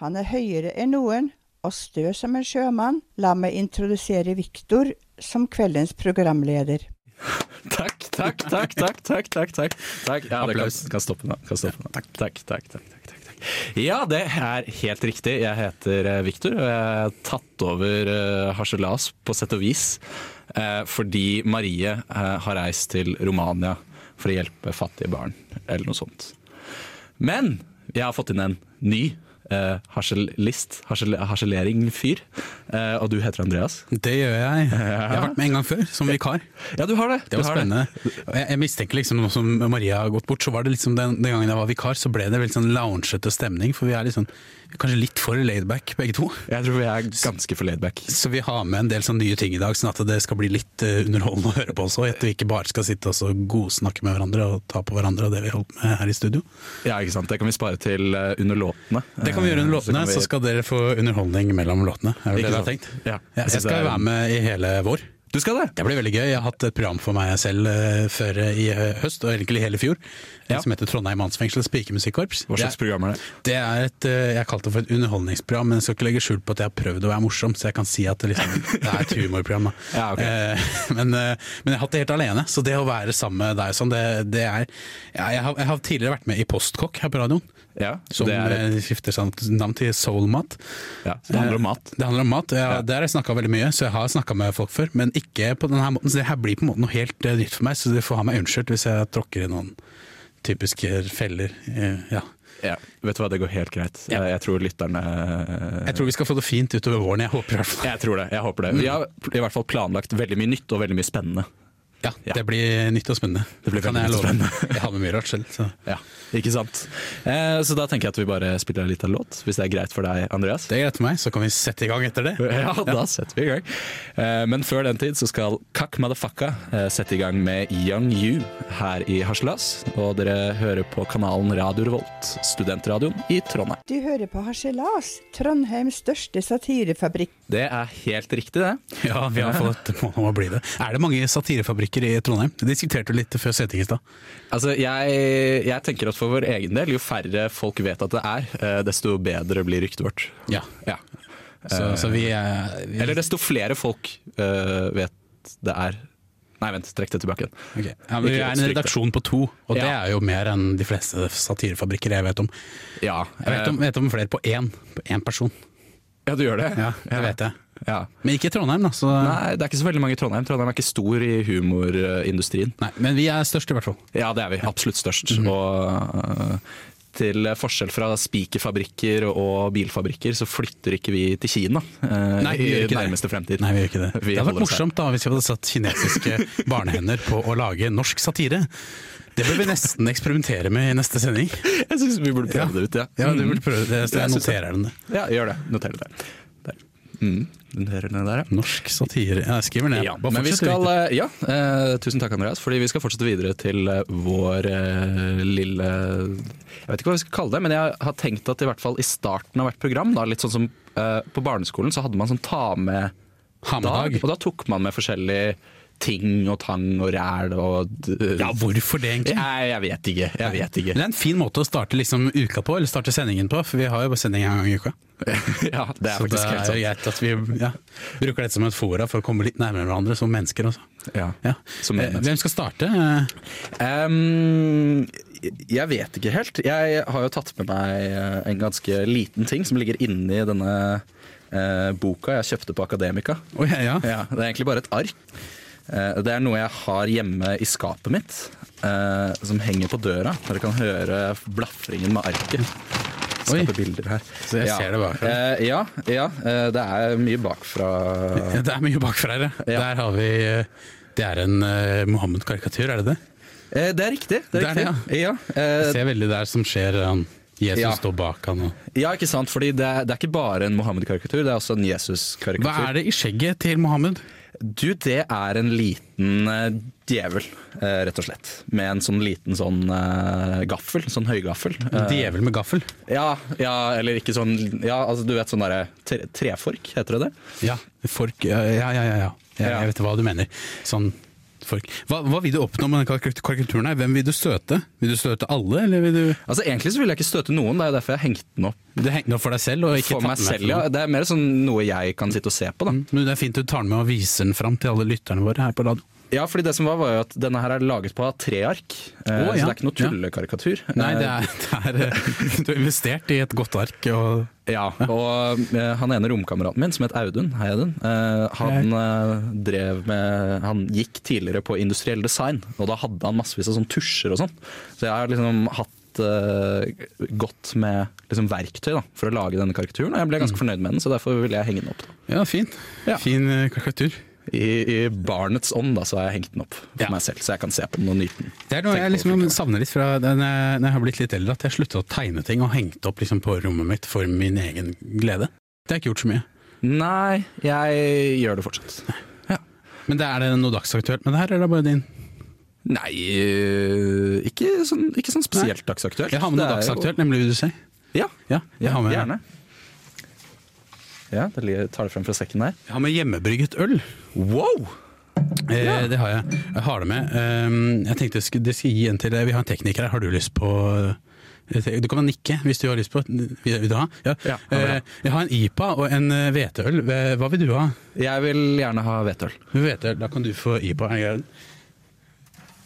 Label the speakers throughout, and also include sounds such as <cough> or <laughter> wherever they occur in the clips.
Speaker 1: Han er høyere enn noen, og stø som en sjømann. La meg introdusere Viktor som kveldens programleder.
Speaker 2: Takk, takk, takk, takk, takk, takk, takk. takk. Ja, det kan,
Speaker 3: Applaus.
Speaker 2: kan stoppe nå. Kan stoppe nå. Takk. Takk, takk, takk, takk, takk, takk. Ja, det er helt riktig. Jeg heter eh, Victor, og jeg har tatt over eh, Harselas på sett og vis eh, fordi Marie eh, har reist til Romania for å hjelpe fattige barn, eller noe sånt. Men jeg har fått inn en ny eh, harselist, harsel, harselering-fyr, eh, og du heter Andreas.
Speaker 3: Det gjør
Speaker 2: <laughs>
Speaker 3: jeg. Jeg har vært med en gang før, som vikar.
Speaker 2: Ja, du har det.
Speaker 3: Det var
Speaker 2: du har
Speaker 3: spennende. Og Jeg, jeg mistenker liksom nå som Maria har gått bort, så var det liksom den, den gangen jeg var vikar, så ble det veldig sånn loungete stemning, for vi er litt sånn, kanskje litt for laidback begge to.
Speaker 2: Jeg tror vi er ganske for laidback.
Speaker 3: Så vi har med en del sånne nye ting i dag, sånn at det skal bli litt eh, underholdende å høre på også. At vi ikke bare skal sitte og så godsnakke med hverandre og ta på hverandre og det vi holdt med her i studio.
Speaker 2: Ja, ikke sant. Det kan vi spare til eh, under låtene.
Speaker 3: Det kan vi
Speaker 2: Eh,
Speaker 3: gjøre under låtene, så skal dere få underholdning mellom låtene.
Speaker 2: Ikke
Speaker 3: Er det det dere har
Speaker 2: sant?
Speaker 3: tenkt?
Speaker 2: Ja.
Speaker 3: Ja,
Speaker 2: Jeg
Speaker 3: jeg
Speaker 2: synes
Speaker 3: skal
Speaker 2: det er-
Speaker 3: være med i hele vår.
Speaker 2: Du skal det?
Speaker 3: Det blir veldig gøy. Jeg har hatt et program for meg selv eh, før i eh, høst, og egentlig hele fjor, eh,
Speaker 2: Ja.
Speaker 3: som heter Trondheim Mannsfengsels pikemusikkorps.
Speaker 2: Hva slags
Speaker 3: Det er-
Speaker 2: program er det?
Speaker 3: Det er et, eh, jeg kalte det for et underholdningsprogram, men jeg skal ikke legge skjul på at jeg har prøvd å være morsom, så jeg kan si at det, liksom, det er et humorprogram. Da.
Speaker 2: <laughs> Ja, ok.
Speaker 3: Eh, <laughs> men, eh, men jeg har hatt det helt alene, så det å være sammen med deg sånn, det, det er ja, jeg, har, jeg har tidligere vært med i Postkokk her på radioen,
Speaker 2: Ja,
Speaker 3: som
Speaker 2: det, er,
Speaker 3: eh, skifter sånn navn til Soulmat.
Speaker 2: ja, så det handler om mat.
Speaker 3: Det handler om mat. Jeg,
Speaker 2: Ja.
Speaker 3: Der har jeg snakka veldig mye, så jeg har snakka med folk før. Men ikke på denne måten, så det her blir på en måte noe helt eh, nytt for meg. Så dere får ha meg unnskyldt hvis jeg tråkker i noen typiske feller. eh, Ja.
Speaker 2: Ja. Vet du hva, det går helt greit.
Speaker 3: Ja.
Speaker 2: Eh, Jeg tror lytterne eh,
Speaker 3: Jeg tror vi skal få det fint utover våren, jeg håper i hvert fall.
Speaker 2: Jeg tror det. Jeg håper det. Vi har i hvert fall planlagt veldig mye nytt og veldig mye spennende.
Speaker 3: Ja,
Speaker 2: Ja.
Speaker 3: det blir nytt og spennende.
Speaker 2: Det blir
Speaker 3: kan
Speaker 2: veldig
Speaker 3: jeg
Speaker 2: nytt og
Speaker 3: love. Jeg har med mye rart selv. Så.
Speaker 2: Ja, ikke sant? Eh, Så da tenker jeg at vi bare spiller en liten låt, hvis det er greit for deg, Andreas.
Speaker 3: Det er greit for meg, så kan vi sette i gang etter det.
Speaker 2: <laughs> Ja, da setter vi i gang. Eh, Men før den tid så skal Kakk Madafakka eh, sette i gang med Young You her i Harselas. Og dere hører på kanalen Radio Revolt, studentradioen i Trondheim.
Speaker 1: Du hører på Harselas, Trondheims største satirefabrikk.
Speaker 2: Det er helt riktig, det.
Speaker 3: Ja, vi har fått må, må bli det. Er det mange satirefabrikker i Trondheim? Det diskuterte vi litt før setting i stad.
Speaker 2: Altså, jeg, jeg tenker at for vår egen del, jo færre folk vet at det er, eh, desto bedre blir ryktet vårt.
Speaker 3: Ja.
Speaker 2: Ja.
Speaker 3: Så, så vi, er- vi
Speaker 2: Eller desto flere folk eh, vet det er. Nei, vent, trekk det tilbake. igjen.
Speaker 3: Ok. Ja, men vi
Speaker 2: Ikke
Speaker 3: er en
Speaker 2: strikte.
Speaker 3: redaksjon på to, og det
Speaker 2: Ja.
Speaker 3: er jo mer enn de fleste satirefabrikker jeg vet om.
Speaker 2: Ja,
Speaker 3: Jeg vet om, vet om flere på én, på én person.
Speaker 2: eh, ja, du gjør det?
Speaker 3: Ja, det vet jeg.
Speaker 2: Ja.
Speaker 3: Men ikke i Trondheim, da. Så, nei.
Speaker 2: Nei, det er ikke så veldig mange i Trondheim. Trondheim er ikke stor i humorindustrien.
Speaker 3: men vi er størst, i hvert fall.
Speaker 2: Ja, det er vi. Absolutt størst.
Speaker 3: Mhm.
Speaker 2: Og øh, til forskjell fra spikerfabrikker og bilfabrikker, så flytter ikke vi til Kina øh,
Speaker 3: Nei, vi gjør
Speaker 2: i
Speaker 3: ikke det.
Speaker 2: nærmeste fremtid.
Speaker 3: Nei, vi gjør ikke det.
Speaker 2: Vi
Speaker 3: det hadde
Speaker 2: holder
Speaker 3: vært
Speaker 2: oss her.
Speaker 3: morsomt da hvis vi hadde satt kinesiske barnehender på å lage norsk satire. Det bør vi nesten eksperimentere med i neste sending.
Speaker 2: <laughs> Jeg syns vi burde prøve det ut, ja.
Speaker 3: Ja, du burde prøve det. Så
Speaker 2: Jeg
Speaker 3: jeg
Speaker 2: synes
Speaker 3: noterer den. det.
Speaker 2: Ja, gjør det. Noter det der. der. Mm. Den hører den der, ja.
Speaker 3: Norsk satire. Ja, Jeg skriver ned.
Speaker 2: Ja,
Speaker 3: Bare
Speaker 2: men vi
Speaker 3: fortsett,
Speaker 2: skal,
Speaker 3: Victor.
Speaker 2: eh, ja, eh, tusen takk Andreas, fordi vi skal fortsette videre til eh, vår eh, lille Jeg vet ikke hva vi skal kalle det, men jeg har tenkt at i hvert fall i starten av hvert program, da, litt sånn som eh, på barneskolen, så hadde man sånn ta med
Speaker 3: Ha med dag.
Speaker 2: og da tok man med forskjellige ting og tang og ræl og d- eh,
Speaker 3: Ja, hvorfor det, egentlig?
Speaker 2: Nei, jeg vet ikke. Jeg vet
Speaker 3: Men
Speaker 2: ikke.
Speaker 3: Det er en fin måte å starte liksom uka på, eller starte sendingen på, for vi har jo bare sending en gang i uka.
Speaker 2: <laughs> ja, det er
Speaker 3: så
Speaker 2: faktisk
Speaker 3: det
Speaker 2: helt
Speaker 3: er jo
Speaker 2: sant.
Speaker 3: greit at vi ja, bruker dette som et fora for å komme litt nærmere hverandre som mennesker. Også.
Speaker 2: Ja,
Speaker 3: Ja.
Speaker 2: som
Speaker 3: Eh,
Speaker 2: mennesker.
Speaker 3: Hvem skal starte? Eh,
Speaker 2: Ehm, jeg vet ikke helt. Jeg har jo tatt med meg eh, en ganske liten ting som ligger inni denne eh, boka jeg kjøpte på Akademika.
Speaker 3: Oi, ja, ja.
Speaker 2: Ja, det er egentlig bare et ark. Eh, det er noe jeg har hjemme i skapet mitt, eh, som henger på døra. Dere kan høre blafringen med arket.
Speaker 3: Oi.
Speaker 2: Skape bilder her.
Speaker 3: Så jeg ser det bakfra.
Speaker 2: Eh, ja, ja eh, det er mye bakfra.
Speaker 3: Det er mye bakfra her. ja.
Speaker 2: Ja.
Speaker 3: Der har vi eh, Det er en eh, Mohammed-karikatur, er det det?
Speaker 2: Eh, det er riktig. Det er
Speaker 3: Det er
Speaker 2: riktig. ja. eh,
Speaker 3: Jeg ser veldig der som skjer han, Jesus
Speaker 2: Ja.
Speaker 3: står bak han. Og.
Speaker 2: Ja, ikke sant, fordi det er, det er ikke bare en Mohammed-karikatur, det er også en
Speaker 3: Hva
Speaker 2: Jesus-karikatur.
Speaker 3: er det i skjegget til Mohammed?
Speaker 2: Du, det er en liten eh, djevel, eh, rett og slett. Med en sånn liten sånn eh, gaffel, sånn høygaffel.
Speaker 3: En
Speaker 2: Eh,
Speaker 3: djevel med gaffel?
Speaker 2: ja, ja, eller ikke sånn, ja, altså du vet sånn derre tre, trefork, heter det det?
Speaker 3: Ja, fork Ja, ja, ja. ja, ja. Jeg,
Speaker 2: Ja.
Speaker 3: jeg vet hva du mener. Sånn Folk. Hva, hva vil du oppnå med denne karikatu- karikaturen? her? Hvem vil du støte? Vil du støte alle, eller vil du
Speaker 2: Altså Egentlig så ville jeg ikke støte noen, det er jo derfor jeg hengte den opp.
Speaker 3: Du henger den opp for deg selv? Og ikke
Speaker 2: For
Speaker 3: tar
Speaker 2: meg
Speaker 3: den med
Speaker 2: selv,
Speaker 3: for
Speaker 2: ja.
Speaker 3: noen. Mm.
Speaker 2: Det er mer sånn noe jeg kan sitte og se på. da.
Speaker 3: Men det er fint du tar den med og viser den fram til alle lytterne våre her på radio.
Speaker 2: Ja, fordi det som var, var jo at denne her er laget på tre ark, eh,
Speaker 3: Å, ja.
Speaker 2: så det er ikke noe tullekarikatur.
Speaker 3: Nei, <laughs> det er, det er eh, Du har investert i et godt ark og
Speaker 2: Ja, og eh, han ene romkameraten min som het Audun, hei Audun, eh, han eh, drev med Han gikk tidligere på industriell design, og da hadde han massevis av sånn tusjer og sånn. Så jeg har liksom hatt eh, godt med liksom verktøy da, for å lage denne karikaturen, og jeg ble ganske fornøyd med den, så derfor ville jeg henge den opp. Da.
Speaker 3: Ja, fint.
Speaker 2: Ja.
Speaker 3: Fin eh, karikatur.
Speaker 2: I, I barnets ånd da, så har jeg hengt den opp for
Speaker 3: Ja.
Speaker 2: meg selv, så jeg kan se på den og nyte den.
Speaker 3: Det er noe
Speaker 2: Tenk
Speaker 3: jeg
Speaker 2: på
Speaker 3: liksom
Speaker 2: det.
Speaker 3: savner litt fra da jeg når jeg har blitt litt eldre, at jeg slutta å tegne ting og hengte opp liksom på rommet mitt for min egen glede. Det har jeg ikke gjort så mye.
Speaker 2: Nei, jeg gjør det fortsatt.
Speaker 3: Men det er det noe dagsaktuelt med det her, eller er det bare din?
Speaker 2: Nei, øh, ikke sånn, ikke sånn spesielt dagsaktuelt.
Speaker 3: Jeg har med noe
Speaker 2: Det er jo-
Speaker 3: dagsaktuelt, nemlig vil du si.
Speaker 2: Ja,
Speaker 3: Ja, jeg har med,
Speaker 2: gjerne. Ja, da li- tar det frem fra sekken der.
Speaker 3: Jeg har med hjemmebrygget øl.
Speaker 2: Wow!
Speaker 3: Eh, Det har jeg. Jeg har det med. Ehm, Jeg tenkte jeg skulle, det skal jeg gi en til deg. Vi har en tekniker her. Har du lyst på Du kan bare nikke hvis du har lyst på. Vil du ha? Ja.
Speaker 2: Ja, jeg vil ha.
Speaker 3: Eh, Jeg har en IPA og en eh, hveteøl. Hva- Hva vil du ha?
Speaker 2: Jeg vil gjerne ha hvetøl.
Speaker 3: Hveteøl, da kan du få IPA. Jeg-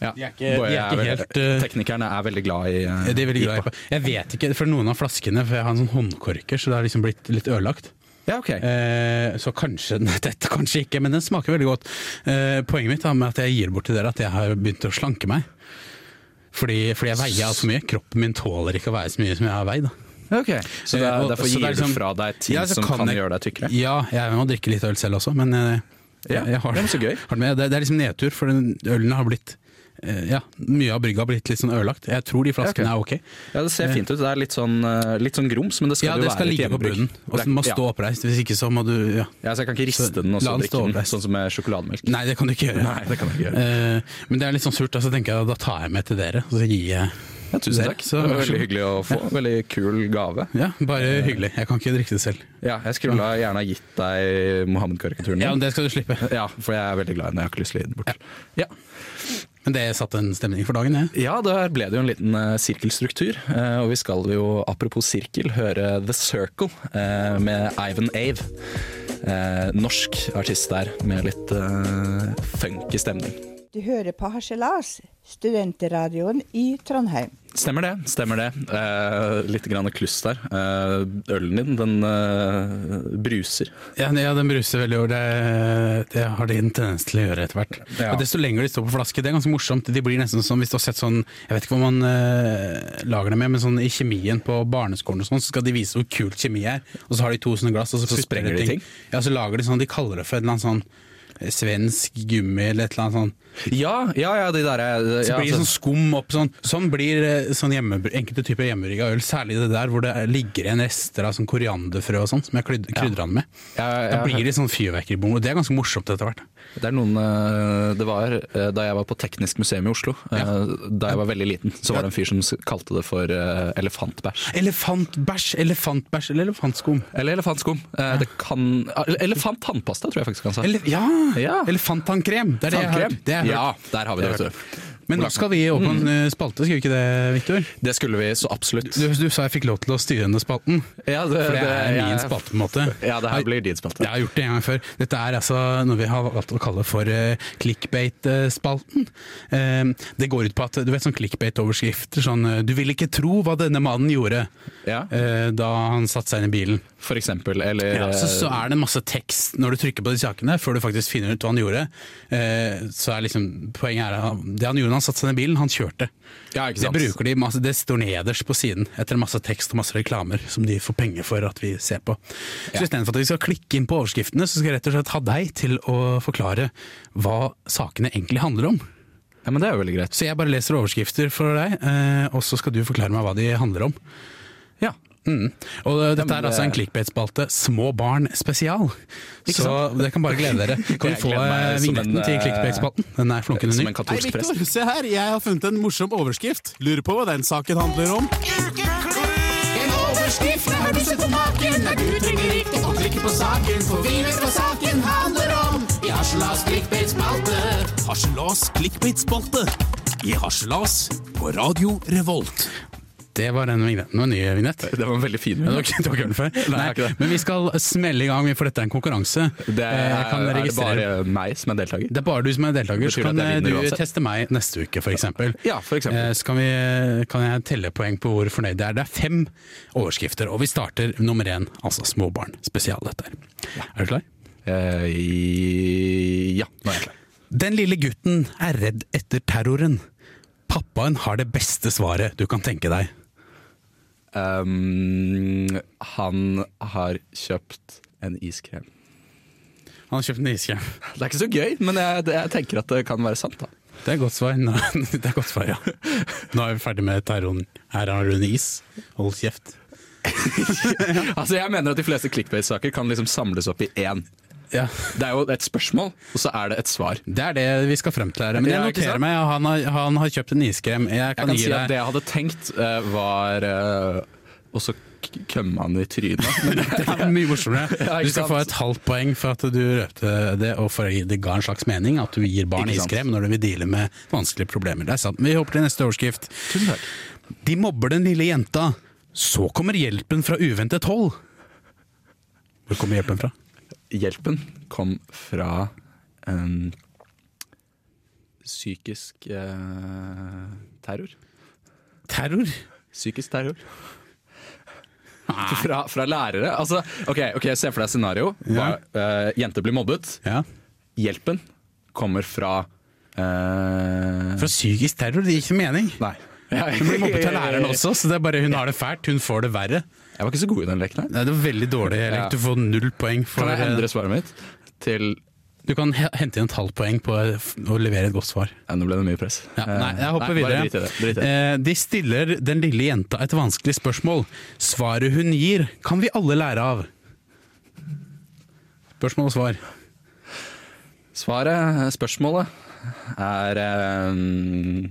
Speaker 2: Ja.
Speaker 3: De er ikke- de er ikke helt, øh,
Speaker 2: Teknikerne eh, er veldig glad i eh,
Speaker 3: Det er veldig glad i
Speaker 2: IPA.
Speaker 3: IPA. Jeg vet ikke, for noen av flaskene For jeg har en sånn håndkorker, så det har liksom blitt litt ødelagt.
Speaker 2: Ja, ok.
Speaker 3: Eh, Så kanskje <laughs> nei, dette, kanskje ikke, men den smaker veldig godt. Eh, Poenget mitt er med at jeg gir bort til dere at jeg har begynt å slanke meg. Fordi, fordi jeg veier altfor mye. Kroppen min tåler ikke å veie så mye som jeg har veid. da.
Speaker 2: Ja, ok. Så det
Speaker 3: Eh,
Speaker 2: er,
Speaker 3: og-
Speaker 2: derfor
Speaker 3: så
Speaker 2: gir
Speaker 3: det er liksom-
Speaker 2: du fra deg ting
Speaker 3: Ja, så
Speaker 2: som kan,
Speaker 3: jeg-
Speaker 2: gjøre deg tykkere?
Speaker 3: Ja, jeg må drikke litt øl selv også, men eh,
Speaker 2: Ja,
Speaker 3: jeg, jeg har,
Speaker 2: det er så gøy.
Speaker 3: har det med. Det, det er liksom nedtur, for den ølen har blitt eh, Ja, mye av brygga har blitt litt sånn ødelagt. Jeg tror de flaskene
Speaker 2: Ja,
Speaker 3: er ok.
Speaker 2: Ja, Det ser fint ut. Det er litt sånn, eh, litt sånn grums, men det skal
Speaker 3: Ja,
Speaker 2: jo
Speaker 3: det
Speaker 2: være
Speaker 3: skal
Speaker 2: et
Speaker 3: ligge på
Speaker 2: hjemmebrygg.
Speaker 3: bunnen,
Speaker 2: Det
Speaker 3: og så
Speaker 2: er-
Speaker 3: den må
Speaker 2: ja.
Speaker 3: stå oppreist. Hvis ikke så må du ja.
Speaker 2: Ja, så jeg kan ikke riste
Speaker 3: Så
Speaker 2: den og
Speaker 3: la
Speaker 2: så
Speaker 3: den
Speaker 2: drikke den,
Speaker 3: stå oppreist.
Speaker 2: sånn som med sjokolademelk.
Speaker 3: Nei, det kan du ikke gjøre.
Speaker 2: Nei, det kan jeg ikke gjøre.
Speaker 3: Eh, men det er litt sånn surt, da, så tenker jeg da tar jeg med til dere. Og så gir jeg
Speaker 2: Ja, tusen
Speaker 3: dere.
Speaker 2: takk.
Speaker 3: Så,
Speaker 2: det var
Speaker 3: vær så
Speaker 2: veldig
Speaker 3: god.
Speaker 2: hyggelig Eh, å få. Veldig kul gave.
Speaker 3: Ja, bare hyggelig. Jeg kan ikke drikke det selv.
Speaker 2: Ja, jeg skulle ha gjerne ha gitt deg Mohammed-karikaturen.
Speaker 3: Ja,
Speaker 2: min.
Speaker 3: men Det skal du slippe.
Speaker 2: Ja, for jeg er veldig glad i den. Jeg har ikke lyst til å gi den bort. Ja,
Speaker 3: Men det satte en stemning for dagen, jeg.
Speaker 2: ja der ble det jo en liten eh, sirkelstruktur. eh, og vi skal jo, apropos sirkel, høre The Circle eh, med Ivan Ave. Eh, norsk artist der, med litt eh, funky stemning.
Speaker 1: Du hører på Harselas, studentradioen i Trondheim.
Speaker 2: Stemmer det. stemmer det. Eh, litt grann kluss der. Eh, ølen din, den eh, bruser.
Speaker 3: Ja, ja den bruser veldig over. Det, det har de en tendens til å gjøre etter hvert.
Speaker 2: Ja.
Speaker 3: Og Desto lenger de står på flaske, det er ganske morsomt. De blir nesten som hvis du har sett sånn Jeg vet ikke hva man eh, lager det med, men sånn i kjemien på barneskolen og sånn, så skal de vise hvor kult kjemi er, og så har de to sånne glass, og så,
Speaker 2: Så
Speaker 3: putter
Speaker 2: sprenger de ting?
Speaker 3: Ja, så lager de sånn De kaller det for et eller annet sånn eh, svensk gummi eller et eller annet sånn.
Speaker 2: Ja, ja, ja, de derre
Speaker 3: Så
Speaker 2: ja, altså,
Speaker 3: blir det sånn skum opp sånn. Sånn blir eh, sånn hjemme, enkelte typer hjemmerygga øl, særlig det der hvor det ligger igjen rester av sånn korianderfrø og sånn, som jeg krydder, krydrer den med.
Speaker 2: Ja, ja,
Speaker 3: Da
Speaker 2: ja.
Speaker 3: blir det sånn fyrverkeribom, og det er ganske morsomt etter hvert.
Speaker 2: Det er noen eh, Det var eh, da jeg var på Teknisk museum i Oslo, eh, da jeg var veldig liten, så var det en fyr som s- kalte det for eh, elefantbæsj.
Speaker 3: Elefantbæsj, elefantbæsj eller elefantskum?
Speaker 2: Eller elefantskum. Eh, Det kan eller- Elefanttannpasta, tror jeg faktisk han sa.
Speaker 3: Ele ja!
Speaker 2: Ja.
Speaker 3: Elefanttannkrem! Det er det jeg har
Speaker 2: Tannkrem.
Speaker 3: hørt. Det har jeg
Speaker 2: Ja,
Speaker 3: hørt.
Speaker 2: der har vi det.
Speaker 3: Det har jeg
Speaker 2: vet du.
Speaker 3: Men nå skal vi over på en eh, spalte, skal vi ikke det, Viktor?
Speaker 2: Det skulle vi så absolutt.
Speaker 3: Du, du sa jeg fikk lov til å styre denne spalten,
Speaker 2: Ja, det-
Speaker 3: for det er
Speaker 2: det-
Speaker 3: min
Speaker 2: jeg-
Speaker 3: spalte på en måte.
Speaker 2: Ja, det her
Speaker 3: Har-
Speaker 2: blir din spalte.
Speaker 3: Jeg har gjort det en gang før. Dette er altså noe vi har valgt å kalle for eh, clickbait-spalten. Eh, det går ut på at du vet sånn clickbait-overskrifter sånn eh, 'Du vil ikke tro hva denne mannen gjorde'
Speaker 2: Ja.
Speaker 3: eh, da han satte seg inn i bilen.
Speaker 2: For eksempel. Eller
Speaker 3: Ja, så, så er det masse tekst når du trykker på de sakene, før du faktisk finner ut hva han gjorde. Eh, så er liksom, poenget er at det han gjorde da han satte seg inn i bilen, han kjørte.
Speaker 2: eh, Ja, ikke
Speaker 3: Det,
Speaker 2: sant.
Speaker 3: bruker de masse, det står nederst på siden, etter masse tekst og masse reklamer som de får penger for at vi ser på. Så
Speaker 2: Ja.
Speaker 3: istedenfor at vi skal klikke inn på overskriftene, så skal jeg rett og slett ha deg til å forklare hva sakene egentlig handler om.
Speaker 2: ja, men det er jo veldig greit.
Speaker 3: Så jeg bare leser overskrifter for deg, eh, og så skal du forklare meg hva de handler om.
Speaker 2: Ja.
Speaker 3: Mm. Og det- dette
Speaker 2: men
Speaker 3: er altså
Speaker 2: det-
Speaker 3: en clickbait-spalte Små barn spesial.
Speaker 2: Ikke
Speaker 3: Så
Speaker 2: sant?
Speaker 3: dere kan bare glede dere. Kan vi
Speaker 2: Jeg
Speaker 3: få
Speaker 2: gleder meg
Speaker 3: eh,
Speaker 2: som
Speaker 3: vignetten
Speaker 2: en,
Speaker 3: til
Speaker 2: eh,
Speaker 3: clickbait-spalten? Den er flunkende
Speaker 2: som
Speaker 3: ny.
Speaker 2: en katolsk Hei, Victor,
Speaker 3: se her, jeg har funnet en morsom overskrift. Lurer på hva den saken handler om.
Speaker 4: En overskrift har du sett på maken Nei, du trenger ikke å klikke på saken For vi vet hva saken handler om I Harselas klikkbeidspalte
Speaker 5: Harselas clickbait-spalte i Harselas på Radio Revolt.
Speaker 3: Det var en vignett. Det var en ny vignett.
Speaker 2: Det var en veldig fin
Speaker 3: Du har ikke du har ikke hørt den før?
Speaker 2: Nei, jeg har ikke det.
Speaker 3: men vi skal smelle i gang, for dette er en konkurranse.
Speaker 2: Det
Speaker 3: Eh,
Speaker 2: er,
Speaker 3: jeg kan
Speaker 2: er det
Speaker 3: registrere-
Speaker 2: bare meg som er deltaker?
Speaker 3: Det er bare du som er deltaker,
Speaker 2: Betyr
Speaker 3: så
Speaker 2: det at
Speaker 3: kan
Speaker 2: jeg
Speaker 3: eh,
Speaker 2: vinner
Speaker 3: du
Speaker 2: uansett?
Speaker 3: teste meg neste uke f.eks.
Speaker 2: Ja, for eksempel.
Speaker 3: Så kan, vi, kan jeg telle poeng på hvor fornøyd jeg er. Det er fem overskrifter, og vi starter nummer én, altså småbarn. Spesial dette her. Er du klar?
Speaker 2: Eh, i- ja, nå er jeg klar.
Speaker 3: Den lille gutten er redd etter terroren. Pappaen har det beste svaret du kan tenke deg.
Speaker 2: Um, han har kjøpt en iskrem.
Speaker 3: Han har kjøpt en iskrem.
Speaker 2: Det er ikke så gøy, men jeg, det- jeg tenker at det kan være sant. da
Speaker 3: Det er godt svar. Nei, <laughs> det er godt svar, ja. Nå er vi ferdig med terroren. Her har du en is. Hold kjeft.
Speaker 2: Altså Jeg mener at de fleste clickbait-saker kan liksom samles opp i én.
Speaker 3: Ja,
Speaker 2: Det er jo et spørsmål, og så er det et svar.
Speaker 3: Det er det vi skal frem til her. Men
Speaker 2: Ja,
Speaker 3: jeg
Speaker 2: ikke sant?
Speaker 3: noterer meg at han, har- han har kjøpt en iskrem. Jeg
Speaker 2: Jeg
Speaker 3: kan,
Speaker 2: kan
Speaker 3: gi
Speaker 2: si at
Speaker 3: deg
Speaker 2: det jeg hadde tenkt, eh, var eh, Og så k- kømmer han i trynet. Men
Speaker 3: <laughs> Det er mye morsommere.
Speaker 2: Ja, ikke
Speaker 3: Du skal
Speaker 2: sant?
Speaker 3: få et halvt poeng for at du røpte det, og for at det ga en slags mening at du gir barn
Speaker 2: Ikke sant.
Speaker 3: iskrem når de vil deale med vanskelige problemer. Det er sant. Men vi hopper til neste overskrift.
Speaker 2: <laughs> Tusen takk.
Speaker 3: De mobber den lille jenta. Så kommer hjelpen fra uventet hold. Hvor kommer hjelpen fra?
Speaker 2: Hjelpen kom fra em, psykisk eh, terror.
Speaker 3: Terror.
Speaker 2: Psykisk terror. Fra, fra lærere. Altså, ok, ok, Se for deg et scenario.
Speaker 3: Ja.
Speaker 2: Hva- eh, jenter blir mobbet.
Speaker 3: Ja.
Speaker 2: Hjelpen kommer fra eh,
Speaker 3: Fra psykisk terror, det gir ikke mening.
Speaker 2: Nei.
Speaker 3: Hun blir mobbet av læreren også, så det er bare hun har det fælt. Hun får det verre.
Speaker 2: Jeg var ikke så god i den leken. her
Speaker 3: Nei, Det er veldig dårlig. Erik.
Speaker 2: Ja.
Speaker 3: Du får null poeng. For,
Speaker 2: Kan jeg endre svaret mitt til
Speaker 3: Du kan he- hente inn et halvt poeng på å levere et godt svar.
Speaker 2: ja, Nå ble det mye press.
Speaker 3: Ja, nei, jeg hopper
Speaker 2: Eh, Nei,
Speaker 3: videre.
Speaker 2: bare drit i det, drit i det.
Speaker 3: Eh, De stiller den lille jenta et vanskelig spørsmål. Svaret hun gir, kan vi alle lære av. Spørsmål og svar.
Speaker 2: Svaret, spørsmålet, er em,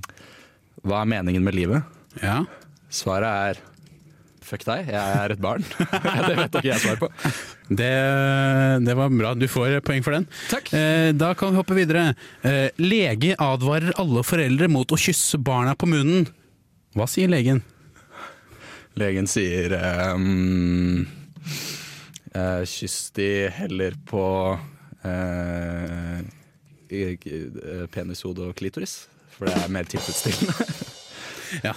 Speaker 2: Hva er meningen med livet?
Speaker 3: Ja.
Speaker 2: Svaret er fuck deg, jeg er et barn. <laughs> det vet ikke jeg svar på.
Speaker 3: Det, det var bra. Du får poeng for den.
Speaker 2: Takk.
Speaker 3: Eh, Da kan vi hoppe videre. Eh, Lege advarer alle foreldre mot å kysse barna på munnen. Hva sier legen?
Speaker 2: Legen sier ehm, eh, Kyss de heller på eh, i- i- penishode og klitoris, for det er mer tilfredsstillende.
Speaker 3: Ja.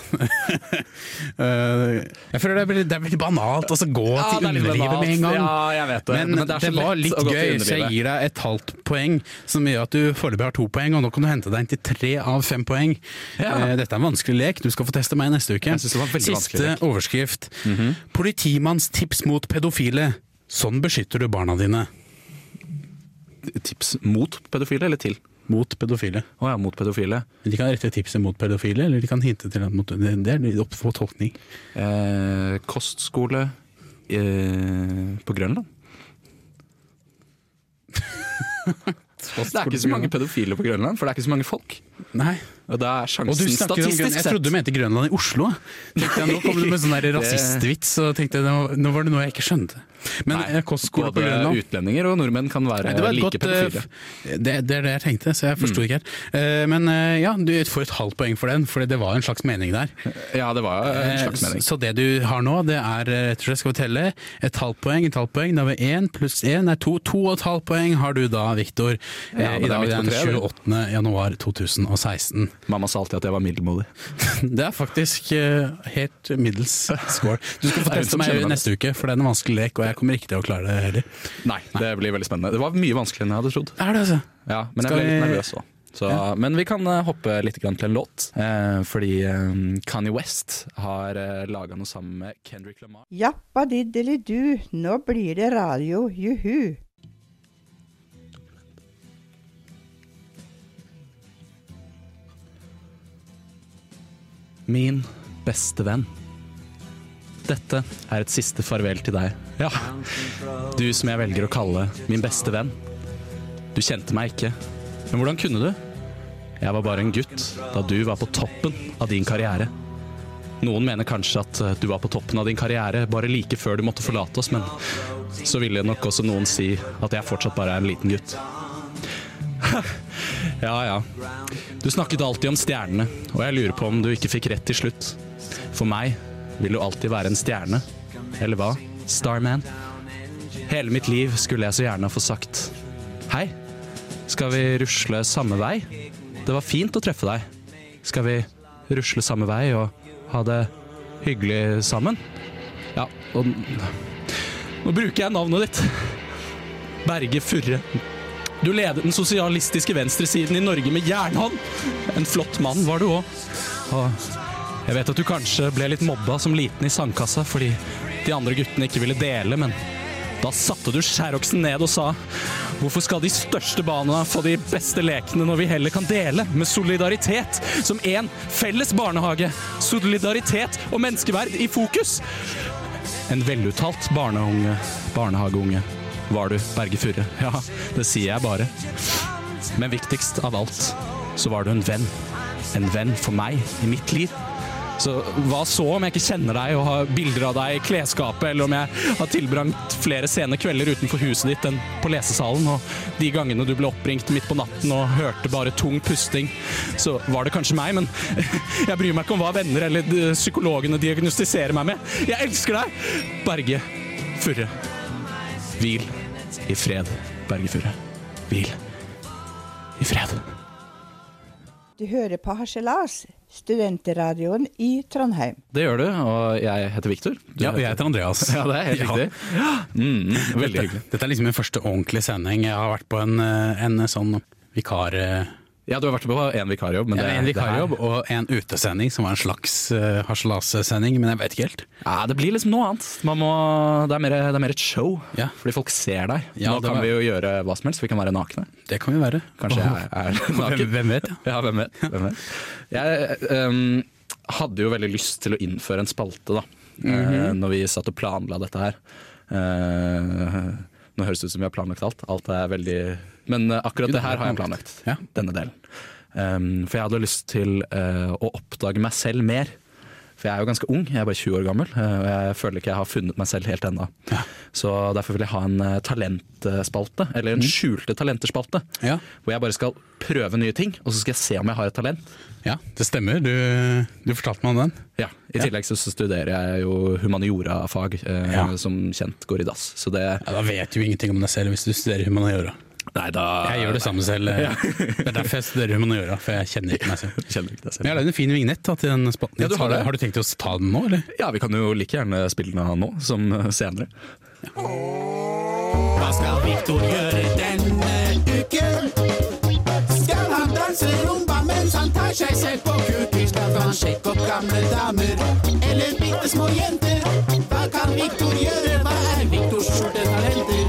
Speaker 3: Eh, jeg føler det er veldig, det er veldig banalt. Altså, gå til underlivet med en gang.
Speaker 2: Ja, jeg vet det.
Speaker 3: Men, det,
Speaker 2: er så
Speaker 3: var
Speaker 2: lett
Speaker 3: litt
Speaker 2: å gå til
Speaker 3: gøy, så jeg
Speaker 2: underlivet.
Speaker 3: gir deg et halvt poeng, som gjør at du foreløpig har to poeng, og nå kan du hente deg inn til tre av fem poeng.
Speaker 2: Ja.
Speaker 3: Eh, Dette er en vanskelig lek, du skal få teste meg neste uke.
Speaker 2: Jeg synes det var en veldig
Speaker 3: Siste
Speaker 2: vanskelig lek. Mhm.
Speaker 3: overskrift. Politimanns tips mot pedofile. Sånn beskytter du barna dine.
Speaker 2: <laughs> Tips mot pedofile eller til?
Speaker 3: Mot pedofile.
Speaker 2: Å ja, mot pedofile.
Speaker 3: De kan rette tipset mot pedofile, eller de kan hinte til at mot, det, det er opp for tolkning.
Speaker 2: Eh, kostskole eh, på Grønland. <laughs> Det er ikke så mange pedofile på Grønland, for det er ikke så mange folk.
Speaker 3: Nei.
Speaker 2: Og da er
Speaker 3: Og
Speaker 2: sjansen
Speaker 3: du snakker om Grønland.
Speaker 2: statistisk
Speaker 3: Jeg
Speaker 2: sett
Speaker 3: trodde du mente Grønland i Oslo. Tenkte jeg, nå kom du med
Speaker 2: <laughs>
Speaker 3: sånn der rasistvits, og tenkte jeg, nå- nå var det noe jeg ikke skjønte. Men
Speaker 2: Nei,
Speaker 3: eh, kostskole på
Speaker 2: Både
Speaker 3: Grønland
Speaker 2: utlendinger og nordmenn kan være
Speaker 3: det var et
Speaker 2: like
Speaker 3: godt,
Speaker 2: pedofile.
Speaker 3: eh, f- det, det er det jeg tenkte, så jeg
Speaker 2: Mm.
Speaker 3: forsto ikke helt. Eh, Men eh, ja, du får et halvt poeng for den, for det var en slags mening der.
Speaker 2: Ja, det var jo en slags
Speaker 3: Eh,
Speaker 2: mening.
Speaker 3: Så det du har nå, det er eh, rett og slett, skal vi telle, et halvt poeng, et halvt poeng, da har vi én pluss én, er to, to og et halvt poeng har du da, Viktor.
Speaker 2: Ja, men det
Speaker 3: I
Speaker 2: er
Speaker 3: dag
Speaker 2: midt
Speaker 3: er
Speaker 2: på
Speaker 3: den
Speaker 2: treet, det.
Speaker 3: 28. januar 2016.
Speaker 2: Mamma sa alltid at jeg var middelmådig.
Speaker 3: Det er faktisk eh, helt middels score. Du skal få
Speaker 2: Er det
Speaker 3: teste
Speaker 2: som
Speaker 3: meg
Speaker 2: skjer med
Speaker 3: neste uke, for det er en vanskelig lek, og jeg kommer ikke til å klare det heller.
Speaker 2: Nei, det blir veldig spennende. Det var mye vanskeligere enn jeg hadde trodd.
Speaker 3: Er det altså?
Speaker 2: Ja, men
Speaker 3: Skal
Speaker 2: jeg ble litt
Speaker 3: vi-
Speaker 2: nervøs òg. Så, Men vi kan eh, hoppe litt grann til en låt, eh, fordi eh, Kanye West har eh, laga noe sammen med Kendrick Lamar.
Speaker 1: Jappa diddeli du, nå blir det radio, juhu.
Speaker 2: Min beste venn. Dette er et siste farvel til deg. Ja, du som jeg velger å kalle min beste venn. Du kjente meg ikke, men hvordan kunne du? Jeg var bare en gutt da du var på toppen av din karriere. Noen mener kanskje at eh, du var på toppen av din karriere bare like før du måtte forlate oss, men så ville nok også noen si at jeg fortsatt bare er en liten gutt. <laughs> Ja, ja. Du snakket alltid om stjernene, og jeg lurer på om du ikke fikk rett til slutt. For meg vil du alltid være en stjerne. Eller hva, Starman? Hele mitt liv skulle jeg så gjerne få sagt Hei, skal vi rusle samme vei? Det var fint å treffe deg. Skal vi rusle samme vei og ha det hyggelig sammen? Ja, og Nå bruker jeg navnet ditt. Berge Furre. Du ledet den sosialistiske venstresiden i Norge med jernhånd. En flott mann var du òg. Og jeg vet at du kanskje ble litt mobba som liten i sandkassa fordi de andre guttene ikke ville dele, men da satte du Skjæroksen ned og sa Hvorfor skal de største barna få de beste lekene når vi heller kan dele med solidaritet som én felles barnehage? Solidaritet og menneskeverd i fokus! En veluttalt barneunge, barnehageunge var du, Berge Furre. Ja, det sier jeg bare. Men viktigst av alt, så var du en venn. En venn for meg i mitt liv. Så hva så om jeg ikke kjenner deg og har bilder av deg i klesskapet, eller om jeg har tilbrakt flere sene kvelder utenfor huset ditt enn på lesesalen, og de gangene du ble oppringt midt på natten og hørte bare tung pusting, så var det kanskje meg, men <laughs> jeg bryr meg ikke om hva venner eller eh, psykologene diagnostiserer meg med. Jeg elsker deg! Berge Furre. Hvil i fred, Berge Furre. Hvil i fred.
Speaker 1: Du hører på Harselas, studentradioen i Trondheim.
Speaker 2: Det gjør du, og jeg heter Viktor.
Speaker 3: Ja, og jeg heter Andreas.
Speaker 2: Ja, det er helt
Speaker 3: Ja. <gasps>
Speaker 2: riktig. Mm, mm, veldig
Speaker 3: Dette,
Speaker 2: hyggelig.
Speaker 3: dette er liksom min første ordentlige sending. Jeg har vært på en, eh, en sånn vikar... eh,
Speaker 2: Ja, du har vært på én vikarjobb, men det,
Speaker 3: en vikarjobb
Speaker 2: Det,
Speaker 3: og en utesending som var en slags uh, harselasesending, men jeg vet ikke helt.
Speaker 2: her, ja, det blir liksom noe annet. Man må, det, er mer, det er mer et show,
Speaker 3: Ja.
Speaker 2: fordi folk ser deg.
Speaker 3: Ja,
Speaker 2: Nå
Speaker 3: det
Speaker 2: kan
Speaker 3: var-
Speaker 2: vi jo gjøre hva som helst, vi kan være nakne.
Speaker 3: Det kan jo være.
Speaker 2: Kanskje
Speaker 3: <laughs>
Speaker 2: jeg er <laughs> naken.
Speaker 3: Hvem, hvem vet, ja.
Speaker 2: Ja, hvem vet? Hvem vet? Jeg ehm, hadde jo veldig lyst til å innføre en spalte, da. eh, når vi satt og planla dette her. Eh, nå høres det ut som vi har planlagt alt. Alt er veldig Men eh, akkurat det her har jeg planlagt.
Speaker 3: Ja.
Speaker 2: Denne delen. Ehm, for jeg hadde lyst til eh, å oppdage meg selv mer. For jeg er jo ganske ung, jeg er bare 20 år gammel, eh, og jeg føler ikke jeg har funnet meg selv helt ennå. Så derfor vil jeg ha en eh, talentspalte, eller en skjulte talenterspalte.
Speaker 3: Ja.
Speaker 2: Hvor jeg bare skal prøve nye ting, og så skal jeg se om jeg har et talent.
Speaker 3: Ja, det stemmer. Du, eh, du fortalte meg om den.
Speaker 2: Ja, I tillegg så så studerer jeg jo humaniorafag, eh,
Speaker 3: Ja.
Speaker 2: som kjent går i dass. Så det
Speaker 3: Ja, da vet du jo ingenting om deg selv hvis du studerer humaniora.
Speaker 2: Nei, da
Speaker 3: Jeg gjør det samme selv. eh. Det er derfor jeg studerer humaniora, for jeg kjenner ikke meg selv.
Speaker 2: Kjenner ikke deg
Speaker 3: Men jeg har
Speaker 2: selv.
Speaker 3: lagd en fin vignett da, til den spalten.
Speaker 2: Ja, du
Speaker 3: Så
Speaker 2: har det.
Speaker 3: har du tenkt å ta den nå, eller?
Speaker 2: Ja, vi kan jo like gjerne spille den av nå som eh, senere.
Speaker 4: Hva skal Victor gjøre denne uken? Skal han danse rumba mens han tar seg selv på kuken? Skal han sjekke opp gamle damer eller bitte små jenter? Hva kan Victor gjøre? Hva er Victors skjulte talenter?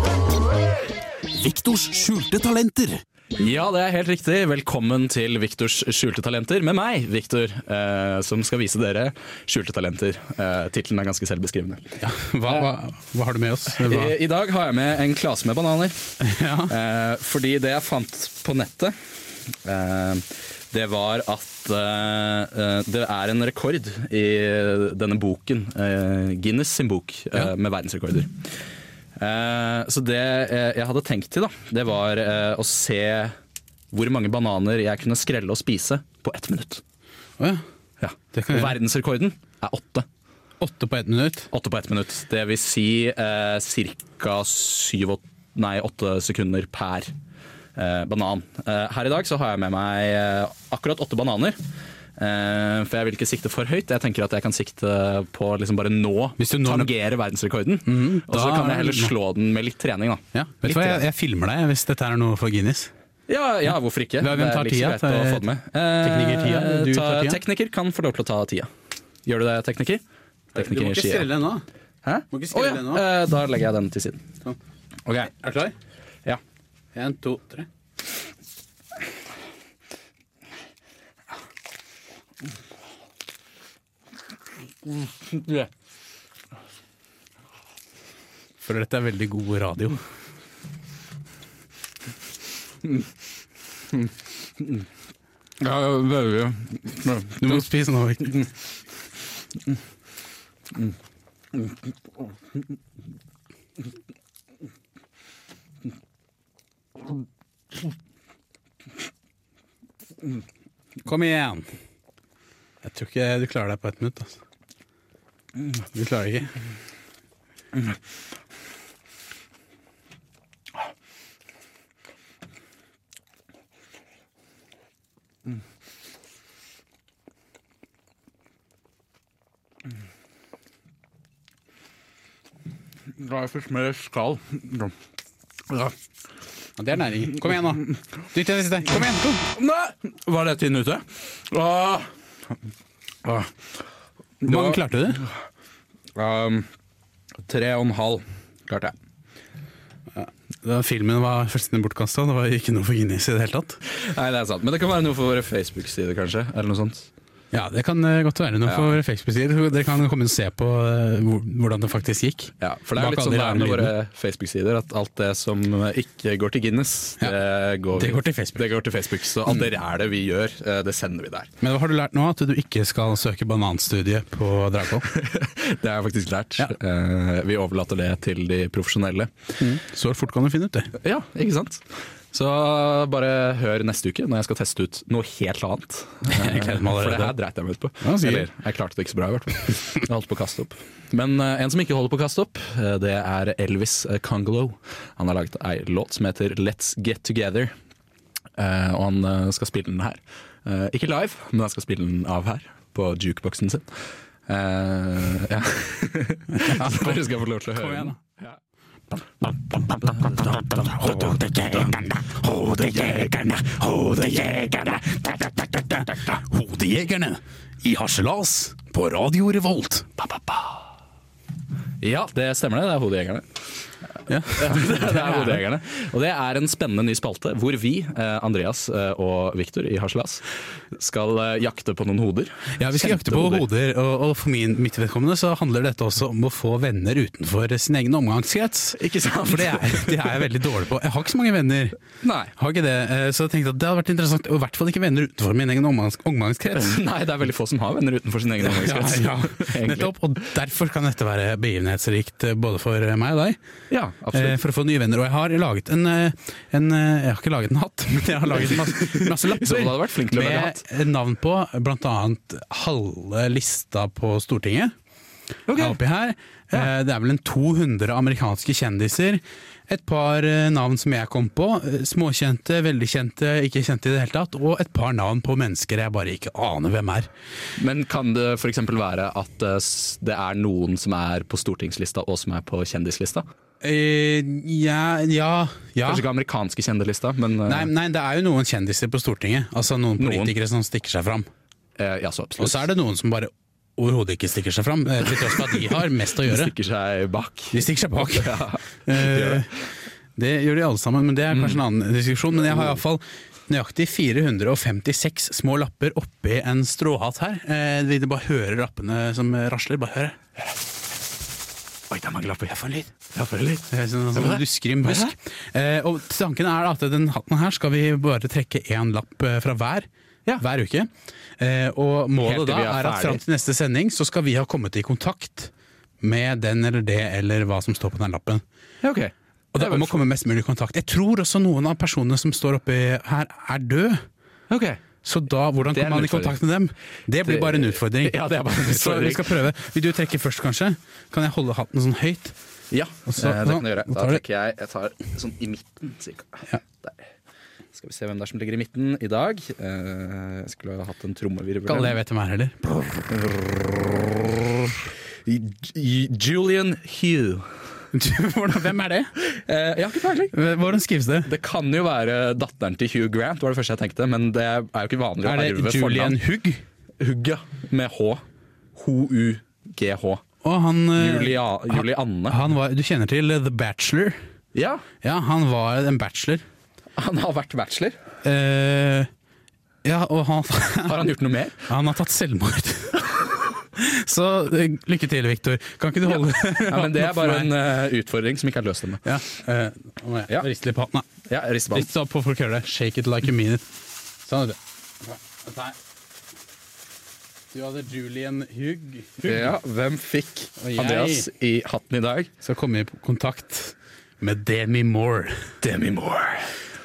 Speaker 5: Viktors skjulte talenter.
Speaker 2: Ja, det er helt riktig. Velkommen til Viktors skjulte talenter med meg, Viktor, eh, som skal vise dere skjulte talenter. Eh, Tittelen er ganske selvbeskrivende.
Speaker 3: Hva, hva, hva har du med oss? Hva?
Speaker 2: I, I dag har jeg med en klase med bananer.
Speaker 3: <laughs> Ja.
Speaker 2: Eh, fordi det jeg fant på nettet, eh, det var at eh, eh, det er en rekord i denne boken, eh, Guinness sin bok, eh,
Speaker 3: Ja.
Speaker 2: med verdensrekorder. Eh, så det eh, jeg hadde tenkt til, da, det var eh, å se hvor mange bananer jeg kunne skrelle og spise på ett minutt.
Speaker 3: Å, ja.
Speaker 2: Ja.
Speaker 3: Det kan
Speaker 2: Og
Speaker 3: jeg-
Speaker 2: verdensrekorden er åtte.
Speaker 3: Åtte på ett minutt.
Speaker 2: Åtte på ett minutt. Det vil si eh, ca. syv og Nei, åtte sekunder per eh, banan. Eh, her i dag så har jeg med meg eh, akkurat åtte bananer. Eh, for jeg vil ikke sikte for høyt. Jeg tenker at jeg kan sikte på liksom bare nå
Speaker 3: Hvis du når- Mhm,
Speaker 2: tangere verdensrekorden. og så
Speaker 3: da-
Speaker 2: kan jeg heller slå den med litt trening, da.
Speaker 3: Ja. Vet
Speaker 2: Litt
Speaker 3: du hva, jeg,
Speaker 2: trening.
Speaker 3: jeg filmer deg hvis dette er noe for Guinness.
Speaker 2: Ja, ja, hvorfor ikke?
Speaker 3: Hvem tar
Speaker 2: Det er like
Speaker 3: tida?
Speaker 2: greit å
Speaker 3: Tar-
Speaker 2: få det med. Eh,
Speaker 3: tekniker tida? Du
Speaker 2: ta,
Speaker 3: tar tida?
Speaker 2: Tekniker kan få lov til å ta tida. Gjør du det, tekniker? Tekniker sier ja.
Speaker 3: ennå.
Speaker 2: Hæ?
Speaker 3: Må ikke skrelle
Speaker 2: Å
Speaker 3: nå.
Speaker 2: Eh, Da legger jeg den til siden. Ok,
Speaker 3: Er du klar?
Speaker 2: ja.
Speaker 3: Én, to, tre. Føler dette er veldig god radio.
Speaker 2: Ja, veldig.
Speaker 3: Du må spise nå. Victor. Kom igjen! Mm. Jeg tror ikke du klarer deg på ett minutt. Altså. Du klarer det ikke.
Speaker 2: Da jeg fikk mer skall.
Speaker 3: Ja, Det er næring. Kom igjen, nå! Nytt igjen, siste. Kom igjen! Kom.
Speaker 2: Nei! Var det tiden ute? Åh. Åh.
Speaker 3: Hvor mange klarte du?
Speaker 2: Um, tre og en halv klarte jeg.
Speaker 3: Da filmen var fullstendig bortkasta. Det var ikke noe for Guinness i det hele tatt.
Speaker 2: Nei, det er sant. Men det kan være noe for våre Facebook-sider, kanskje? Eller noe sånt.
Speaker 3: Ja, Det kan eh, godt være noe for Facebook-sider. Dere kan komme og se på eh, hvor- hvordan det faktisk gikk.
Speaker 2: Ja, for det er
Speaker 3: Bak
Speaker 2: litt
Speaker 3: alle
Speaker 2: sånn det er med
Speaker 3: rare
Speaker 2: våre Facebook-sider, at alt det som ikke går til Guinness, det, går
Speaker 3: det går til Facebook. Mm.
Speaker 2: Det går til Facebook, Så alt det rælet vi gjør, eh, det sender vi der.
Speaker 3: Men hva har du lært nå? At du ikke skal søke bananstudiet på Dragvoll?
Speaker 2: Det har jeg faktisk lært.
Speaker 3: Ja.
Speaker 2: Eh, Vi overlater det til de profesjonelle.
Speaker 3: Så fort kan du finne ut det.
Speaker 2: Ja, ikke sant? Så bare hør neste uke når jeg skal teste ut noe helt annet.
Speaker 3: Jeg gleder meg
Speaker 2: For det her
Speaker 3: allerede.
Speaker 2: dreit jeg meg ut på.
Speaker 3: Ja, sikkert.
Speaker 2: Eller, jeg klarte det ikke så bra i hvert fall. Jeg holdt på å kaste opp. Men eh, en som ikke holder på å kaste opp, eh, det er Elvis eh, Congolo. Han har laget ei låt som heter Let's Get Together. Eh, og han eh, skal spille den her. Eh, ikke live, men han skal spille den av her, på jukeboksen sin. Eh, ja. <laughs> så dere skal få lov til å høre den.
Speaker 5: Hodejegerne, hodejegerne, hodejegerne.
Speaker 3: Hodejegerne i harselas på Radio Revolt.
Speaker 2: Ja, det stemmer det. Det er Hodejegerne.
Speaker 3: Ja.
Speaker 2: <laughs> det er Hodejegerne. Og det er en spennende ny spalte hvor vi, eh, Andreas eh, og Viktor i Harselas, skal eh, jakte på noen hoder.
Speaker 3: Ja, Vi skal jakte på
Speaker 2: Kjempehoder.
Speaker 3: hoder, og, og for min, mitt vedkommende så handler dette også om å få venner utenfor sin egen omgangskrets. <laughs>
Speaker 2: Ikke sant?
Speaker 3: For det er, det er jeg veldig dårlig på. Jeg har ikke så mange venner.
Speaker 2: Nei.
Speaker 3: Har ikke det. Eh, Så jeg tenkte at det hadde vært interessant, og i hvert fall ikke venner utenfor min egen omgangs, omgangskrets.
Speaker 2: <laughs> Nei, det er veldig få som har venner utenfor sin egen <laughs>
Speaker 3: Ja,
Speaker 2: omgangskrets.
Speaker 3: ja.
Speaker 2: <laughs> Egentlig.
Speaker 3: Nettopp, og derfor kan dette være begivenhetsrikt eh, både for meg og deg.
Speaker 2: Ja, absolutt.
Speaker 3: eh, for å få nye venner. Og jeg har laget en, eh, en eh, Jeg har ikke laget en hatt, <laughs> men jeg har laget masse, masse
Speaker 2: I så fall hadde du vært flink til å
Speaker 3: lapper
Speaker 2: lage
Speaker 3: med navn på, blant annet halve lista på Stortinget. er oppi her. Eh, Det er vel en 200 amerikanske kjendiser. Et par eh, navn som jeg kom på. eh, Småkjente, veldig kjente, ikke kjente i det hele tatt. Og et par navn på mennesker jeg bare ikke aner hvem er.
Speaker 2: Men kan det f.eks. være at eh, s- det er noen som er på stortingslista og som er på kjendislista?
Speaker 3: Eh, ja, ja, ja.
Speaker 2: Kanskje ikke amerikanske kjendislista, men eh,
Speaker 3: Nei, nei, det er jo noen kjendiser på Stortinget. Altså noen
Speaker 2: Noen.
Speaker 3: politikere som stikker seg fram.
Speaker 2: eh, ja, så absolutt.
Speaker 3: Og så er det noen som bare overhodet ikke stikker seg fram, eh, til tross for at de har mest å gjøre.
Speaker 2: stikker seg bak.
Speaker 3: De stikker seg bak. <laughs> Eh, Det gjør de alle sammen, men det er kanskje en annen diskusjon. Men jeg har iallfall nøyaktig 456 små lapper oppi en stråhatt her. Eh, Vil dere bare høre lappene som rasler? Bare hør.
Speaker 2: Oi, det er mange lapper. Jeg får en lyd.
Speaker 3: Det er Sånn, sånn duskrim busk. Eh, og tanken er at den hatten her skal vi bare trekke én lapp eh, fra hver.
Speaker 2: Ja.
Speaker 3: Hver uke. Eh, og målet
Speaker 2: Helt til
Speaker 3: da
Speaker 2: vi
Speaker 3: er,
Speaker 2: er
Speaker 3: at fram
Speaker 2: ferdig.
Speaker 3: til neste sending så skal vi ha kommet i kontakt med den eller det eller hva som står på den lappen.
Speaker 2: Ja, ok.
Speaker 3: Og det er om å komme mest mulig i kontakt. Jeg tror også noen av personene som står oppi her, er døde.
Speaker 2: Ok.
Speaker 3: Så da, hvordan
Speaker 2: Det er
Speaker 3: kommer man
Speaker 2: en
Speaker 3: i kontakt med dem? Det blir
Speaker 2: Det-
Speaker 3: bare en utfordring.
Speaker 2: Ja, det er bare en
Speaker 3: <laughs> Så
Speaker 2: utfordring.
Speaker 3: vi skal prøve. Vil du trekke først, kanskje? Kan jeg holde hatten sånn høyt?
Speaker 2: Ja,
Speaker 3: Og så-
Speaker 2: eh, det kan du gjøre.
Speaker 3: Hva
Speaker 2: Da
Speaker 3: tar du?
Speaker 2: trekker jeg Jeg tar sånn i midten, cirka. Der. Skal vi se hvem det er som ligger i midten i dag. Eh, jeg skulle ha hatt en trommevirvel.
Speaker 3: Ikke alle jeg vet hvem er heller.
Speaker 2: J- Julian Hugh.
Speaker 3: Hvordan- Hvem er det?
Speaker 2: Eh, jeg har ikke peiling.
Speaker 3: Hvordan skrives det?
Speaker 2: Det kan jo være datteren til Hugh Grant, var det første jeg tenkte. Men det er jo ikke vanlig å
Speaker 3: Er
Speaker 2: arve
Speaker 3: det Julian
Speaker 2: fornavn.
Speaker 3: Hugg?
Speaker 2: Hugga med H. H-u-g-h.
Speaker 3: Og han, eh,
Speaker 2: Julia, Julianne.
Speaker 3: han var, du kjenner til eh, The Bachelor?
Speaker 2: Ja,
Speaker 3: Ja, han var en bachelor.
Speaker 2: han har vært bachelor.
Speaker 3: Eh, ja, og han, <laughs>
Speaker 2: Har han gjort noe mer?
Speaker 3: han har tatt selvmord. <laughs> Så eh, lykke til, Victor. Kan ikke du holde
Speaker 2: Ja, men det er
Speaker 3: hatten opp for
Speaker 2: bare
Speaker 3: meg?
Speaker 2: en eh, utfordring som ikke er løst ennå.
Speaker 3: Ja, eh, nå må jeg
Speaker 2: Ja.
Speaker 3: riste litt på hatten. da.
Speaker 2: Ja, risteband.
Speaker 3: Rist opp på folk hører det. Shake it like you mean it. Sånn, vet du. Dette her. Du hadde Julian Hugg.
Speaker 2: Ja, hvem fikk
Speaker 3: Og jeg-
Speaker 2: Andreas i hatten i dag?
Speaker 3: Skal komme i kontakt med Demi Moore.
Speaker 2: Demi Moore.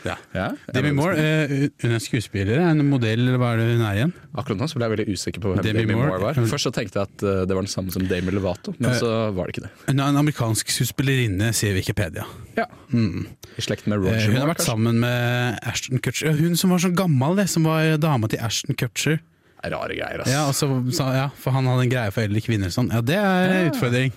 Speaker 3: Ja.
Speaker 2: Ja,
Speaker 3: Demi
Speaker 2: jeg vet
Speaker 3: Moore, eh, hun er skuespiller, er en modell, eller hva er det hun er igjen?
Speaker 2: Akkurat nå så ble jeg veldig usikker på hvem
Speaker 3: Demi
Speaker 2: Demi, Moore
Speaker 3: Moore
Speaker 2: var. Først så tenkte jeg at eh, det var den samme som Dame Levato, men
Speaker 3: Eh.
Speaker 2: så var det ikke det.
Speaker 3: Hun er en amerikansk skuespillerinne, sier Wikipedia.
Speaker 2: Ja. I slekt med
Speaker 3: Eh,
Speaker 2: Roger
Speaker 3: Hun har
Speaker 2: Moore,
Speaker 3: vært
Speaker 2: kanskje.
Speaker 3: sammen med Ashton Kutcher. Ja, Hun som var så gammel, det, som var dama til Ashton Kutcher.
Speaker 2: Rare greier, ass.
Speaker 3: Ja, og så, sa- ja, For han hadde en greie for eldre kvinner og sånn. Ja, det er en utfordring.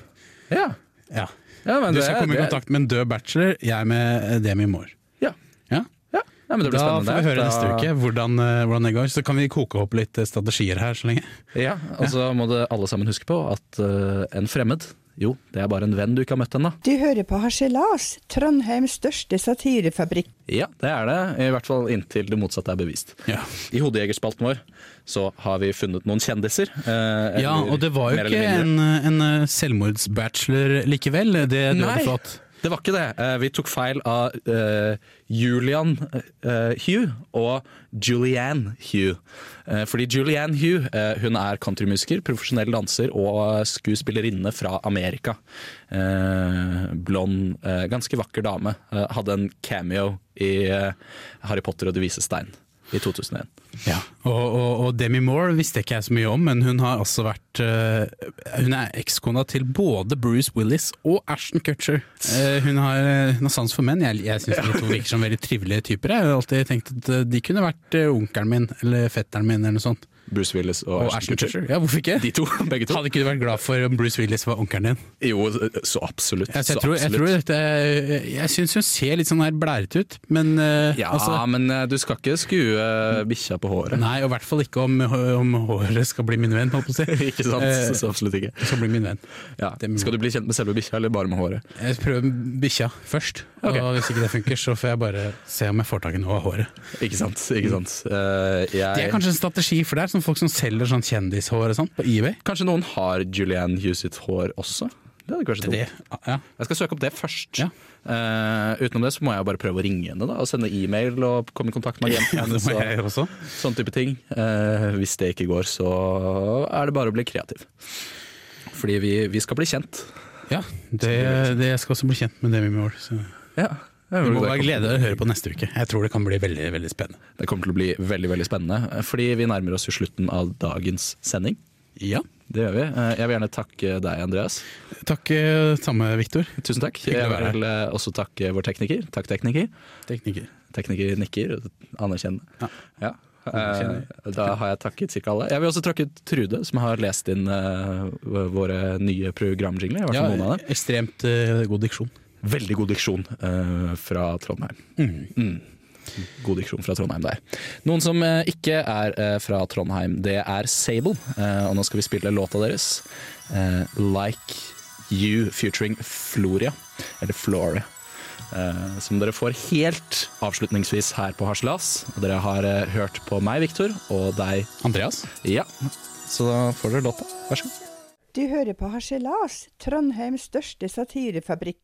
Speaker 2: Ja.
Speaker 3: Ja.
Speaker 2: Ja, men
Speaker 3: Du
Speaker 2: det-
Speaker 3: skal komme i
Speaker 2: det-
Speaker 3: kontakt med en død bachelor, jeg med eh, Demi Moore.
Speaker 2: Ja.
Speaker 3: Ja?
Speaker 2: ja. Nei, men det blir
Speaker 3: Da
Speaker 2: spennende.
Speaker 3: får vi høre
Speaker 2: Da-
Speaker 3: neste uke hvordan, eh, hvordan det går. Så kan vi koke opp litt eh, strategier her så lenge.
Speaker 2: Ja, Og så må det alle sammen huske på at eh, en fremmed, jo, det er bare en venn du ikke har møtt ennå.
Speaker 1: Du hører på Harselas, Trondheims største satirefabrikk.
Speaker 2: Ja, det er det. I hvert fall inntil det motsatte er bevist.
Speaker 3: Ja.
Speaker 2: I Hodejegerspalten vår så har vi funnet noen kjendiser. eh,
Speaker 3: Ja,
Speaker 2: eller
Speaker 3: og det var
Speaker 2: mer
Speaker 3: jo
Speaker 2: eller
Speaker 3: ikke
Speaker 2: mindre.
Speaker 3: en, en eh, selvmordsbachelor likevel. Det døde
Speaker 2: Nei.
Speaker 3: flott.
Speaker 2: Det var ikke det. Eh, Vi tok feil av eh, Julian eh, Hugh og Julianne Hugh. Eh, fordi Julianne Hugh eh, hun er countrymusiker, profesjonell danser og skuespillerinne fra Amerika. Eh, blond, eh, ganske vakker dame. Eh, hadde en cameo i eh, Harry Potter og De vise stein i 2001.
Speaker 3: Ja. Og, og, og Demi Moore visste ikke jeg så mye om, men hun har altså vært eh, Hun er ekskona til både Bruce Willis og Ashton Kutcher. Eh, hun har eh, hun har sans for menn. Jeg, jeg syns de to virker som veldig trivelige typer. Jeg har alltid tenkt at eh, de kunne vært eh, onkelen min eller fetteren min eller noe sånt.
Speaker 2: Bruce Willis og,
Speaker 3: Og Ashton Kutcher. Ja, hvorfor ikke?
Speaker 2: De to, begge to.
Speaker 3: Hadde ikke du vært glad for om Bruce Willis var onkelen din?
Speaker 2: Jo, så absolutt.
Speaker 3: Jeg, jeg,
Speaker 2: så
Speaker 3: tror, jeg,
Speaker 2: absolutt.
Speaker 3: tror dette, jeg syns hun ser litt sånn her blærete ut, men eh,
Speaker 2: Ja,
Speaker 3: altså,
Speaker 2: men eh, du skal ikke skue eh, bikkja på håret.
Speaker 3: Nei, og i hvert fall ikke om, om håret skal bli min venn, holdt på å si.
Speaker 2: <laughs> <laughs> Ikke sant?
Speaker 3: Eh,
Speaker 2: Så absolutt ikke.
Speaker 3: skal bli min venn.
Speaker 2: Ja.
Speaker 3: det må-
Speaker 2: Skal du bli kjent med selve bikkja, eller bare med håret?
Speaker 3: Jeg prøver bikkja først,
Speaker 2: Ok.
Speaker 3: og hvis ikke det funker, så får jeg bare se om jeg får tak i noe av håret.
Speaker 2: Ikke sant. Ikke sant? Eh, jeg...
Speaker 3: Mm. Det er kanskje en strategi for deg, som folk som selger sånn kjendishår og sånt på eBay.
Speaker 2: Kanskje noen har Julianne Hughes sitt hår også? Det hadde kanskje
Speaker 3: Det,
Speaker 2: dumt.
Speaker 3: ja.
Speaker 2: Jeg skal søke opp det først.
Speaker 3: Ja.
Speaker 2: Eh, utenom det så må jeg jo bare prøve å ringe henne da, og sende e-mail og komme i kontakt med agenten.
Speaker 3: <laughs> ja, det må jeg
Speaker 2: hennes og
Speaker 3: også.
Speaker 2: sånn type ting. Eh, hvis det ikke går, så er det bare å bli kreativ. Fordi vi, vi skal bli kjent.
Speaker 3: Ja, det, det, jeg skal også bli kjent med Demi Moore. Så.
Speaker 2: Ja.
Speaker 3: Du må bare glede deg å høre på neste uke. Jeg tror det kan bli veldig, veldig spennende.
Speaker 2: Det kommer til å bli veldig veldig spennende, eh, fordi vi nærmer oss jo slutten av dagens sending.
Speaker 3: Ja.
Speaker 2: Det gjør vi. Eh, Jeg vil gjerne takke deg, Andreas.
Speaker 3: Takk eh, samme, Viktor.
Speaker 2: Tusen takk.
Speaker 3: å
Speaker 2: Jeg
Speaker 3: være her.
Speaker 2: vil eh, også takke vår tekniker. Takk, tekniker.
Speaker 3: Tekniker.
Speaker 2: Tekniker nikker. Anerkjennende.
Speaker 3: Ja.
Speaker 2: Ja.
Speaker 3: Anerkjenner.
Speaker 2: Eh, Da har jeg takket ca. alle. Jeg vil også takke Trude, som har lest inn eh, våre nye programjingler. i hvert
Speaker 3: Ja,
Speaker 2: fall noen av dem.
Speaker 3: ekstremt eh, god diksjon.
Speaker 2: Veldig god diksjon eh, fra Trondheim. Mm. God diksjon fra Trondheim der. Noen som eh, ikke er eh, fra Trondheim, det er Sable. Eh, og nå skal vi spille låta deres, eh, 'Like You', featuring Floria. Eller Floria. Eh, som dere får helt avslutningsvis her på Harselas. Og dere har eh, hørt på meg, Viktor, og deg.
Speaker 3: Andreas?
Speaker 2: Ja, så da får dere låta. Vær så god.
Speaker 1: Du hører på Harselas, Trondheims største satirefabrikk.